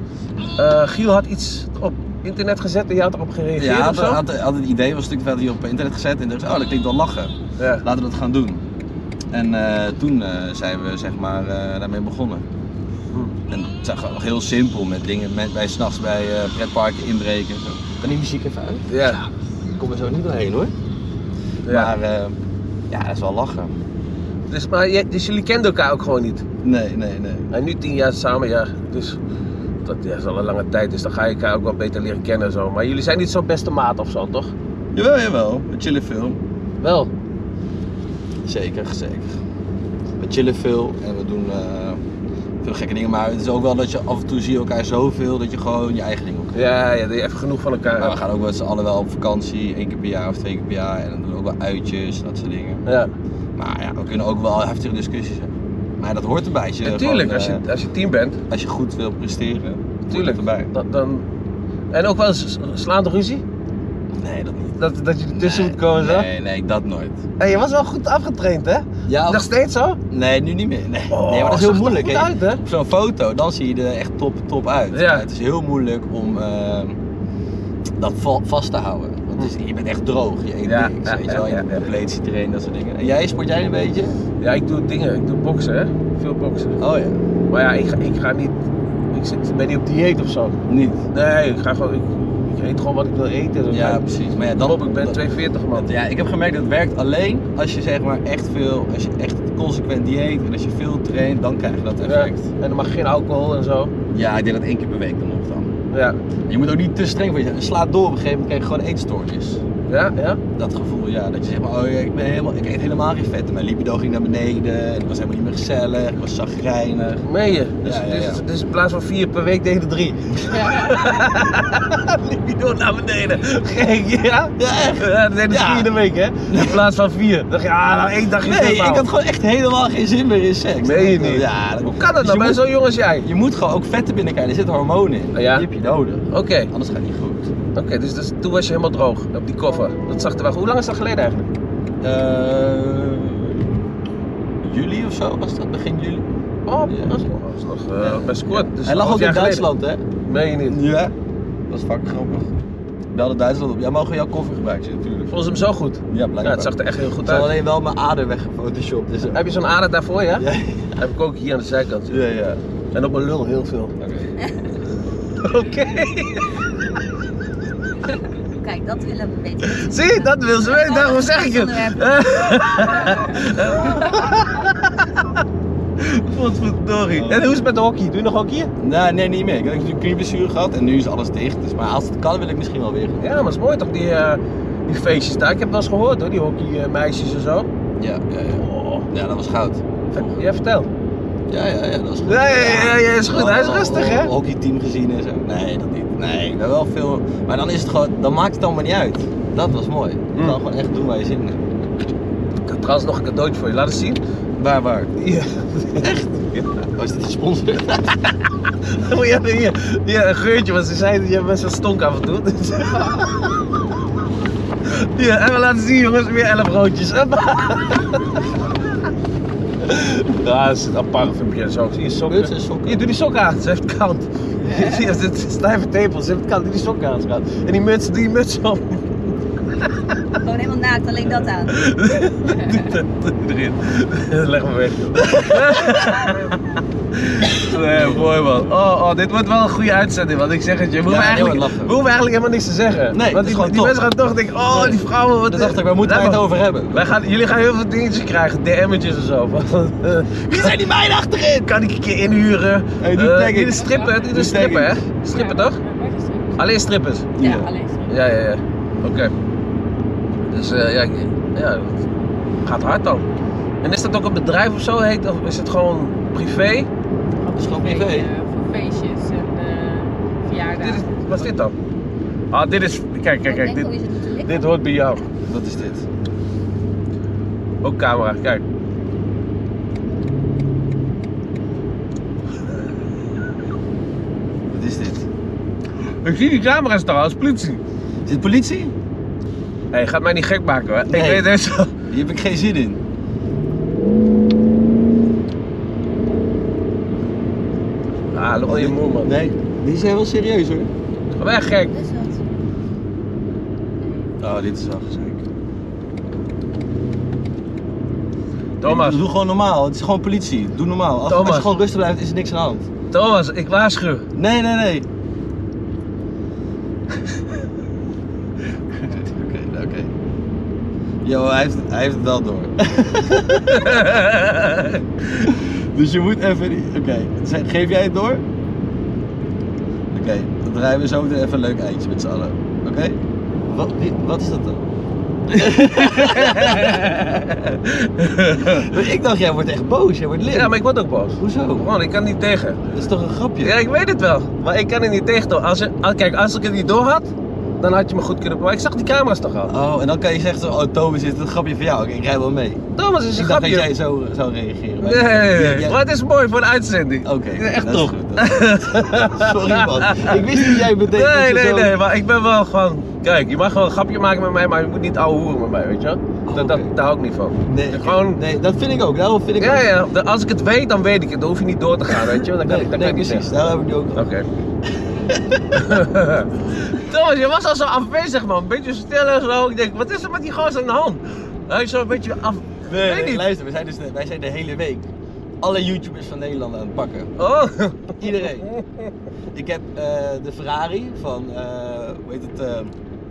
Speaker 1: eh, Giel had iets op internet gezet en jij had erop gereageerd
Speaker 3: Ja,
Speaker 1: of
Speaker 3: had,
Speaker 1: zo?
Speaker 3: had, had het idee, was een stuk verder hier op internet gezet en dacht, oh dat klinkt wel lachen.
Speaker 1: Ja.
Speaker 3: Laten we dat gaan doen. En eh, toen eh, zijn we zeg maar eh, daarmee begonnen.
Speaker 1: Hm.
Speaker 3: En het zag ook heel simpel met dingen, met, bij s'nachts bij eh pretparken inbreken. en Zo. Kan die muziek even uit?
Speaker 1: Ja.
Speaker 3: Ik kom er zo niet doorheen hoor.
Speaker 1: Ja.
Speaker 3: Maar eh, ja, dat is wel lachen.
Speaker 1: Dus, maar, je- dus jullie kenden elkaar ook gewoon niet.
Speaker 3: Nee, nee, nee.
Speaker 1: En nu tien jaar samen, ja. Dus dat ja, is al een lange tijd, dus dan ga je elkaar ook wel beter leren kennen en zo. Maar jullie zijn niet zo'n beste maat of zo, toch?
Speaker 3: Jawel, jawel. We chillen veel.
Speaker 1: Wel.
Speaker 3: Zeker, zeker. We chillen veel en we doen eh, veel gekke dingen. Maar het is ook wel dat je af en toe zie je elkaar zoveel dat je gewoon je eigen dingen ook
Speaker 1: Ja, ja, even genoeg van elkaar.
Speaker 3: Maar we gaan ook met z'n allen wel op vakantie, één keer per jaar of twee keer per jaar. En dan doen we ook wel uitjes, dat soort dingen.
Speaker 1: Ja,
Speaker 3: Maar ja, we kunnen ook wel heftige discussies hebben. Maar dat hoort erbij. Als je,
Speaker 1: natuurlijk.
Speaker 3: gewoon,
Speaker 1: Als je,
Speaker 3: eh,
Speaker 1: als je team bent,
Speaker 3: als je goed wil presteren, hoort
Speaker 1: Tuurlijk.
Speaker 3: het erbij.
Speaker 1: dan, dan. En ook wel eens slaande ruzie?
Speaker 3: Nee, dat niet.
Speaker 1: Dat, dat je ertussen
Speaker 3: nee,
Speaker 1: moet komen zo?
Speaker 3: Nee, nee, dat nooit.
Speaker 1: Hé, je was wel goed afgetraind, hè?
Speaker 3: Ja,
Speaker 1: Nog steeds zo?
Speaker 3: nee, nu niet meer. Nee,
Speaker 1: Oh,
Speaker 3: nee maar dat is
Speaker 1: zag
Speaker 3: heel
Speaker 1: er
Speaker 3: moeilijk.
Speaker 1: goed
Speaker 3: hè.
Speaker 1: uit, hè?
Speaker 3: Op zo'n foto, dan zie je er echt top, top uit.
Speaker 1: Ja.
Speaker 3: Maar het is heel moeilijk om ehm, dat va- vast te houden. Want het is- je bent echt droog, je eet
Speaker 1: Ja,
Speaker 3: niks.
Speaker 1: ja,
Speaker 3: weet
Speaker 1: ja,
Speaker 3: je wel, je
Speaker 1: ja,
Speaker 3: hebt
Speaker 1: ja.
Speaker 3: een completie trainen, dat soort dingen. En jij, sport jij een beetje?
Speaker 1: Ja, ik doe dingen. Ik doe boksen, hè? Veel boksen.
Speaker 3: Oh ja,
Speaker 1: Maar ja, ik ga, ik ga niet. Ik zit, ben niet op dieet of zo.
Speaker 3: niet.
Speaker 1: Nee, ik ga gewoon. Ik, ik eet gewoon wat ik wil eten. Dus
Speaker 3: Ja,
Speaker 1: ik-
Speaker 3: precies. Maar ja, dan,
Speaker 1: Bob, ik ben
Speaker 3: dat-
Speaker 1: 42 man.
Speaker 3: Ja, ik heb gemerkt dat het werkt alleen als je zeg maar echt veel, als je echt consequent dieet en als je veel traint, dan krijg je dat
Speaker 1: Ja,
Speaker 3: effect.
Speaker 1: en dan mag geen alcohol en zo.
Speaker 3: Ja, ik denk dat één keer per week dan nog dan.
Speaker 1: Ja,
Speaker 3: Je moet ook niet te streng voor je slaat door op een gegeven moment krijg je gewoon eetstoornis.
Speaker 1: ja, ja.
Speaker 3: Dat gevoel, ja. Dat je zegt, maar, oh ja, ik, ben helemaal, ik eet helemaal geen vet. En mijn libido ging naar beneden. En ik was helemaal niet meer gezellig. Ik was zagrijnig.
Speaker 1: Meen je? Dus,
Speaker 3: Ja, ja, ja.
Speaker 1: Dus, dus in plaats van vier per week deden er drie. Libido naar beneden. Gek, ja?
Speaker 3: Ja, echt.
Speaker 1: Ja, dat deden ze
Speaker 3: Ja.
Speaker 1: vier in de week, hè? In plaats van vier. Dacht je, ah, nou één dagje
Speaker 3: Nee, ik had gewoon echt helemaal geen zin meer in seks.
Speaker 1: Meen je niet?
Speaker 3: Ja, dat-
Speaker 1: Hoe kan dat
Speaker 3: Dus je
Speaker 1: nou bij
Speaker 3: moet-
Speaker 1: zo'n jong als jij?
Speaker 3: Je moet gewoon ook vetten binnenkrijgen. Er zitten hormonen in.
Speaker 1: Ah, ja?
Speaker 3: Die heb je nodig.
Speaker 1: Oké,
Speaker 3: Anders gaat het niet goed.
Speaker 1: oké, dus, dus toen was je helemaal droog op die koffer. Dat zag er wel. Hoe lang is dat geleden eigenlijk?
Speaker 3: Eh, juli of zo was dat, begin juli.
Speaker 1: Oh,
Speaker 3: Ja.
Speaker 1: dat is nog- dat is nog eh, best kort. Dus
Speaker 3: Hij
Speaker 1: een
Speaker 3: lag
Speaker 1: half
Speaker 3: ook in
Speaker 1: jaar geleden.
Speaker 3: Duitsland, hè?
Speaker 1: Meen je niet?
Speaker 3: Ja. Dat is vaak grappig. Belde Duitsland op. Ja, mogen we jouw koffer gebruiken? Natuurlijk.
Speaker 1: Vonden ze hem zo goed?
Speaker 3: Ja,
Speaker 1: Ja,
Speaker 3: blijkbaar.
Speaker 1: het zag er echt heel
Speaker 3: Ik
Speaker 1: goed
Speaker 3: had
Speaker 1: uit.
Speaker 3: alleen wel mijn ader weggefotoshopt. Dus...
Speaker 1: Heb je zo'n ader daarvoor, ja?
Speaker 3: Ja,
Speaker 1: Heb ik ook hier aan de zijkant.
Speaker 3: ja. ja.
Speaker 1: En op mijn lul heel veel.
Speaker 3: Oké.
Speaker 1: Oké.
Speaker 2: Kijk, dat willen we weten.
Speaker 1: Zie, dat wil ze weten, daarom zeg ik het. Godverdorie. En hoe is het met de hockey? Doe je nog hockey?
Speaker 3: Nou, nee, niet meer. Ik heb natuurlijk knieblessure gehad en nu is alles dicht. Dus, maar als het kan, wil ik misschien wel weer. gaan.
Speaker 1: Ja, maar het is mooi toch, die, eh, die feestjes daar. Ik heb wel eens gehoord hoor, die hockeymeisjes en eh, zo.
Speaker 3: Ja, ja, ja. Ja, dat was goud.
Speaker 1: Ja, vertel.
Speaker 3: Oh. Ja, ja, ja, dat is goed.
Speaker 1: Ja, ja, ja, ja, is goed.
Speaker 3: Wel
Speaker 1: Hij is
Speaker 3: een
Speaker 1: rustig, hè?
Speaker 3: Hockeyteam gezien en zo. Nee, dat niet. Nee, ik ben wel veel. Maar dan is het gewoon, dan maakt het allemaal niet uit. Dat was mooi. Je
Speaker 1: Mm.
Speaker 3: kan gewoon echt doen waar je zin in hebt.
Speaker 1: Ik heb trouwens nog een cadeautje voor je. Laat eens zien.
Speaker 3: Waar, waar?
Speaker 1: Ja.
Speaker 3: Oh, is dit gesponsord?
Speaker 1: Oh, ja, hier. ja, een geurtje, want ze zei dat je best wel stonk af en toe. Dus- Ja, en we laten zien jongens, weer 11 roodjes. Ja, dat is een apart filmpje zo. Zie je sokken?
Speaker 3: Dit zijn sokken.
Speaker 1: Hier, doe die sokken aan, ze heeft het koud. Zie je, dit is stijve tepels, ze heeft het koud. Doe die sokken aan, schat. En die muts, doe die muts op.
Speaker 2: Gewoon helemaal naakt, alleen dat aan.
Speaker 1: Doe die erin. Leg me weg. Nee, mooi man. Oh, oh, dit wordt wel een goede uitzending, want ik zeg het je. We hoeven,
Speaker 3: Ja, heel
Speaker 1: eigenlijk,
Speaker 3: erg lachen.
Speaker 1: we hoeven eigenlijk helemaal niks te zeggen.
Speaker 3: Nee, het
Speaker 1: want
Speaker 3: is
Speaker 1: die,
Speaker 3: gewoon
Speaker 1: die
Speaker 3: top.
Speaker 1: mensen gaan toch denken, oh die vrouwen. Wat
Speaker 3: Dat dacht ik, waar moeten wij het
Speaker 1: Laat maar.
Speaker 3: over hebben?
Speaker 1: Wij gaan, jullie gaan heel veel dingetjes krijgen, DM'tjes en zo. van, eh,
Speaker 3: Wie zijn die meiden achterin?
Speaker 1: kan ik een keer inhuren?
Speaker 3: Hey, doe
Speaker 1: Eh,
Speaker 3: tagging.
Speaker 1: dit is strippen, dit
Speaker 3: Doe
Speaker 1: is strippen hè?
Speaker 3: tagging.
Speaker 1: Strippen toch? Alleen strippers?
Speaker 4: Ja, alleen.
Speaker 1: Ja, ja, ja. Oké. Dus eh, ja, ik- ja, dat gaat hard dan. En is dat ook een bedrijf of zo heet? Of is het gewoon privé?
Speaker 3: is gewoon privé.
Speaker 4: Voor, eh, Voor feestjes en eh
Speaker 1: Dit is,
Speaker 4: verjaardagen.
Speaker 1: wat is dit dan? Ah, dit is. Kijk, kijk, kijk.
Speaker 2: Ik denk, hoe
Speaker 1: Dit,
Speaker 2: is het te likken?
Speaker 1: dit hoort bij jou.
Speaker 3: Wat is dit?
Speaker 1: Ook camera, kijk.
Speaker 3: Wat is dit?
Speaker 1: Ik zie die camera's daar als politie.
Speaker 3: Is dit politie?
Speaker 1: Hé, hey, gaat mij niet gek maken, hè?
Speaker 3: Nee.
Speaker 1: Ik weet het zo.
Speaker 3: Hier heb ik geen zin in.
Speaker 1: Ah, loop je moe, man.
Speaker 3: Nee, die zijn wel serieus hoor.
Speaker 1: Ga weg, gek.
Speaker 2: Dus wat.
Speaker 3: Oh, dit is wel gezeik.
Speaker 1: Thomas,
Speaker 3: Doe gewoon normaal, het is gewoon politie. Doe normaal. Als, als
Speaker 1: Thomas.
Speaker 3: je gewoon rustig blijft, is er niks aan de hand.
Speaker 1: Thomas, ik waarschuw.
Speaker 3: Nee, nee, nee. Oké, oké. Yo, hij heeft, hij heeft het wel door. dus je moet even. Oké, zeg, geef jij het door? Oké, dan draaien we zo meteen even een leuk eindje met z'n allen. Oké? Wat, wie- wat is dat dan? Maar ik dacht, jij wordt echt boos, jij wordt lid.
Speaker 1: ja, maar ik word ook boos.
Speaker 3: Hoezo?
Speaker 1: Man, ik kan niet tegen.
Speaker 3: Dat is toch een grapje?
Speaker 1: Ja, ik weet het wel. Maar ik kan het niet tegen. Thomas. Als je, ah, kijk, als ik het niet door had, dan had je me goed kunnen... Maar ik zag die camera's toch al.
Speaker 3: Oh, en dan kan je zeggen, zo, oh Thomas, dit is een grapje van jou, Oké, ik rij wel mee.
Speaker 1: Thomas is
Speaker 3: Dus
Speaker 1: een
Speaker 3: ik dacht dat
Speaker 1: grapje.
Speaker 3: jij zo zou reageren. maar-
Speaker 1: Nee,
Speaker 3: Jij- jij-
Speaker 1: maar het is mooi voor de uitzending.
Speaker 3: Oké,
Speaker 1: echt
Speaker 3: dat is
Speaker 1: toch?
Speaker 3: goed, dat is goed. Sorry man, ik wist niet dat jij bedenkt dat
Speaker 1: Nee,
Speaker 3: je
Speaker 1: nee,
Speaker 3: zo...
Speaker 1: nee, maar ik ben wel gewoon. Kijk, je mag wel een grapje maken met mij, maar je moet niet ouwe hoeren met mij, weet je wel?
Speaker 3: Oh,
Speaker 1: dat, dat,
Speaker 3: oké.
Speaker 1: daar hou ik niet van.
Speaker 3: Nee,
Speaker 1: Ja,
Speaker 3: oké.
Speaker 1: gewoon-
Speaker 3: nee, dat vind ik ook, daarom vind ik
Speaker 1: Ja,
Speaker 3: ook...
Speaker 1: ja, de- als ik het weet, dan weet ik het. Dan hoef je niet door te gaan, weet je wel? Dan kan
Speaker 3: Nee,
Speaker 1: ik, dan
Speaker 3: nee,
Speaker 1: kan ik
Speaker 3: precies,
Speaker 1: niet
Speaker 3: daar heb ik nu ook
Speaker 1: zeggen. Oké. Thomas, je was al zo afwezig, man. Een beetje stil en zo. Ik denk, wat is er met die gozer aan de hand? Hij is zo een beetje af.
Speaker 3: Nee,
Speaker 1: weet
Speaker 3: nee,
Speaker 1: niet.
Speaker 3: luister, wij zijn, dus de, wij zijn de hele week alle YouTubers van Nederland aan het pakken.
Speaker 1: Oh.
Speaker 3: Iedereen. Ik heb eh, de Ferrari van, eh hoe heet het, eh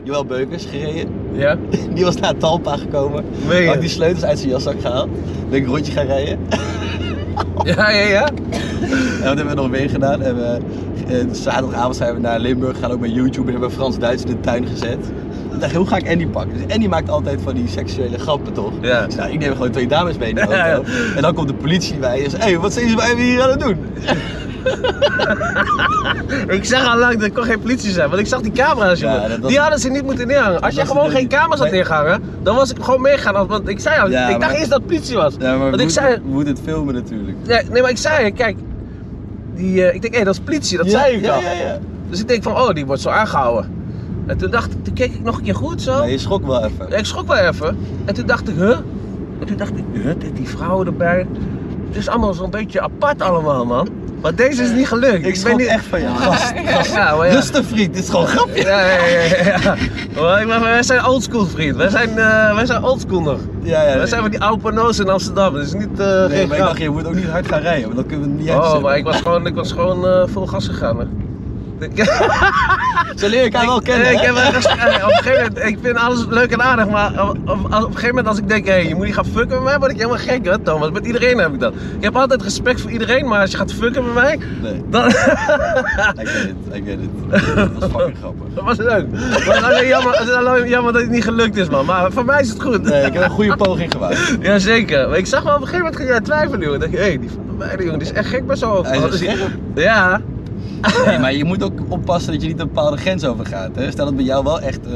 Speaker 3: Joël Beukers gereden.
Speaker 1: Ja?
Speaker 3: Die was naar Talpa gekomen.
Speaker 1: Meen je?
Speaker 3: Had die sleutels uit zijn jaszak gehaald. Ben ik een rondje gaan rijden.
Speaker 1: Ja, ja, ja.
Speaker 3: En wat hebben we nog meer gedaan? En we, eh, zaterdagavond zijn we naar Limburg gegaan, ook bij YouTube. En hebben we Frans Duits in de tuin gezet. Ik dacht, hoe ga ik Andy pakken? Dus Andy maakt altijd van die seksuele grappen, toch?
Speaker 1: Ja.
Speaker 3: Dus nou, ik neem gewoon twee dames mee in de auto.
Speaker 1: Ja, ja.
Speaker 3: En dan komt de politie bij en zegt, hé, wat zijn ze bij me hier aan het doen?
Speaker 1: Ik zeg al lang, dat kon geen politie zijn, want ik zag die camera's,
Speaker 3: Ja,
Speaker 1: jongen.
Speaker 3: dat was-
Speaker 1: die hadden ze niet moeten neerhangen. Als
Speaker 3: dat
Speaker 1: jij
Speaker 3: was
Speaker 1: gewoon
Speaker 3: de-
Speaker 1: geen camera's had
Speaker 3: Nee.
Speaker 1: neergehangen, dan was ik gewoon meegegaan. als- Want ik zei al,
Speaker 3: Ja,
Speaker 1: ik dacht
Speaker 3: maar-
Speaker 1: eerst dat het politie was. want ik zei,
Speaker 3: moet het filmen natuurlijk.
Speaker 1: nee, nee, maar ik zei, kijk, die, eh, ik denk, hé, dat is politie, dat zei ik
Speaker 3: ja,
Speaker 1: al.
Speaker 3: Ja, ja.
Speaker 1: Dus ik denk van, oh, die wordt zo aangehouden. En toen dacht ik, toen keek ik nog een keer goed zo.
Speaker 3: Maar je schrok wel even.
Speaker 1: Ik schrok wel even. En toen dacht ik, huh? En toen dacht ik, huh, dit- die vrouwen erbij. Het is allemaal zo'n beetje apart allemaal, man. Maar deze is niet gelukt.
Speaker 3: Ik schrok echt van jou. Gast, gast.
Speaker 1: Ja, maar ja.
Speaker 3: Rustig vriend, dit is gewoon een grapje.
Speaker 1: Ja, ja, ja, ja. Maar ik ben- wij zijn oldschool vriend. Wij zijn, eh, wij zijn oldschool nog.
Speaker 3: Ja, ja.
Speaker 1: wij zijn van die oude pano's in Amsterdam. Dus niet eh geen
Speaker 3: Nee, maar ik
Speaker 1: grap.
Speaker 3: dacht, je moet ook niet hard gaan rijden, want dan kunnen we het niet
Speaker 1: Oh,
Speaker 3: uitzetten.
Speaker 1: maar ik was gewoon, ik was gewoon eh, vol gas gegaan. Hè.
Speaker 3: Ze leren elkaar wel kennen.
Speaker 1: Eh, Ik,
Speaker 3: hè?
Speaker 1: heb wel eens- eh, op een gegeven moment, ik vind alles leuk en aardig, maar op, op, op een gegeven moment als ik denk, hé, je moet niet gaan fucken met mij, word ik helemaal gek, hè, Thomas. Met iedereen heb ik dat. Ik heb altijd respect voor iedereen, maar als je gaat fucken met mij,
Speaker 3: Nee,
Speaker 1: dan...
Speaker 3: I get it, I get it. Dat was fucking grappig.
Speaker 1: Dat was leuk. Het was alleen jammer, het is alleen jammer dat het niet gelukt is, man. Maar voor mij is het goed.
Speaker 3: Nee, ik heb een goede poging gewaagd.
Speaker 1: Jazeker. Maar ik zag wel op een gegeven moment ging jij twijfelen, jongen. Ik dacht, hé, die van mij, die jongen, die is echt gek bij zo'n hoofd.
Speaker 3: Hij is echt
Speaker 1: Ja.
Speaker 3: Nee, maar je moet ook oppassen dat je niet een bepaalde grens overgaat. Hè? Stel dat bij jou wel echt eh,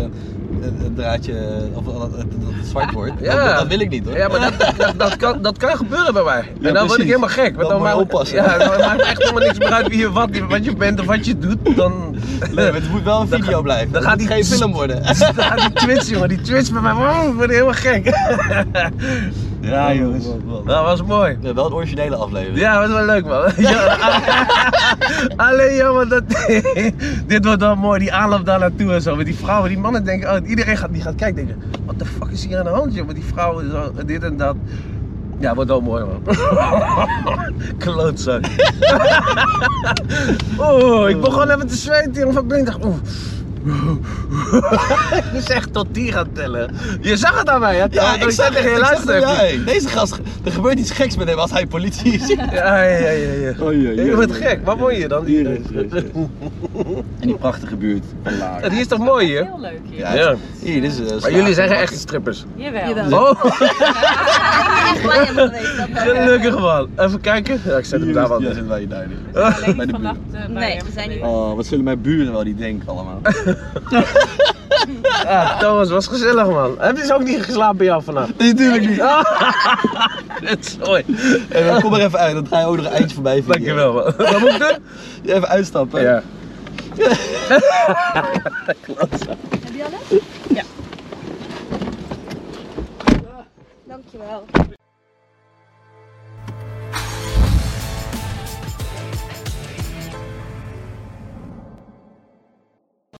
Speaker 3: het het draadje eh, of eh, dat het, het zwart wordt.
Speaker 1: Ja.
Speaker 3: Dat, dat wil ik niet hoor.
Speaker 1: Ja, maar dat, dat, dat kan, dat kan gebeuren bij mij. en dan word ik
Speaker 3: precies.
Speaker 1: helemaal gek.
Speaker 3: Dan
Speaker 1: want
Speaker 3: moet je
Speaker 1: maakt-
Speaker 3: oppassen.
Speaker 1: Ja, dan maakt echt helemaal niks meer uit wie je wat, wat je bent of wat je doet. Dan,
Speaker 3: Nee, maar het moet wel een
Speaker 1: Dan
Speaker 3: video
Speaker 1: ga-
Speaker 3: blijven.
Speaker 1: dan
Speaker 3: Het
Speaker 1: gaat
Speaker 3: moet
Speaker 1: die-
Speaker 3: geen film worden.
Speaker 1: dan gaat die twitch, jongen. Die twitch bij mij, wow, ik word helemaal gek. Ja, jongens.
Speaker 3: Wel, wel, wel.
Speaker 1: Dat was mooi.
Speaker 3: Ja, wel een originele aflevering.
Speaker 1: Ja, dat was wel leuk, man. Ja, alleen jammer dat... dit wordt wel mooi, die aanloop daar naartoe en zo. Met die vrouwen, die mannen denken... Oh, iedereen gaat, die gaat kijken denken... What the fuck is hier aan de hand, joh? Met die vrouwen, zo, dit en dat. Ja, wordt wel mooi, man. Klootzak. Oeh, ik begon even te zweten, jongen. Van binnen Ik dacht... Oeh. ik moest echt tot die gaan tellen. Je zag het aan mij, hè? dat
Speaker 3: Ja,
Speaker 1: ik
Speaker 3: zag
Speaker 1: zei tegen
Speaker 3: het,
Speaker 1: je
Speaker 3: ik zag
Speaker 1: luister
Speaker 3: het,
Speaker 1: even.
Speaker 3: ja, hey, Deze gast, er gebeurt iets geks met hem als hij politie is.
Speaker 1: Ja, ja, ja, ja.
Speaker 3: Oh, ja, ja,
Speaker 1: je bent
Speaker 3: ja,
Speaker 1: gek,
Speaker 3: ja,
Speaker 1: waar
Speaker 3: ja.
Speaker 1: woon je dan?
Speaker 3: Hier, hier, hier. En die prachtige buurt van Laar.
Speaker 1: Het is toch mooi hier?
Speaker 4: Heel leuk hier.
Speaker 3: Ja,
Speaker 1: Ja.
Speaker 3: Hier, dit is eh,
Speaker 1: Maar
Speaker 3: slaap-
Speaker 1: jullie zijn geen echte strippers.
Speaker 4: Jawel.
Speaker 2: Jawel.
Speaker 1: Oh,
Speaker 2: Ik ben echt blij dat geweest. dat ben ik.
Speaker 1: gelukkig man. Even kijken. Ja, ik zet hem
Speaker 3: Hier is-
Speaker 1: daar wel.
Speaker 3: Ja,
Speaker 1: neer.
Speaker 3: zitten wij daar nu.
Speaker 4: We zijn alleen
Speaker 3: Bij de
Speaker 4: vannacht,
Speaker 3: buren.
Speaker 4: eh, bij
Speaker 2: Nee,
Speaker 4: hem
Speaker 2: we zijn niet-
Speaker 4: gebleven.
Speaker 3: Oh, wat zullen mijn buren wel niet denken allemaal.
Speaker 1: Ja, Ah, Thomas, was gezellig man. Heb je ze ook niet geslapen bij jou vannacht?
Speaker 3: Nee, natuurlijk niet.
Speaker 1: Dat is mooi.
Speaker 3: Hey, maar kom er even uit, dan ga je ook nog een eindje voorbij vinden.
Speaker 1: Dankjewel man. Wat moet ik doen?
Speaker 3: Even uitstappen.
Speaker 1: Ja.
Speaker 2: Heb je alles? Ja. Dankjewel.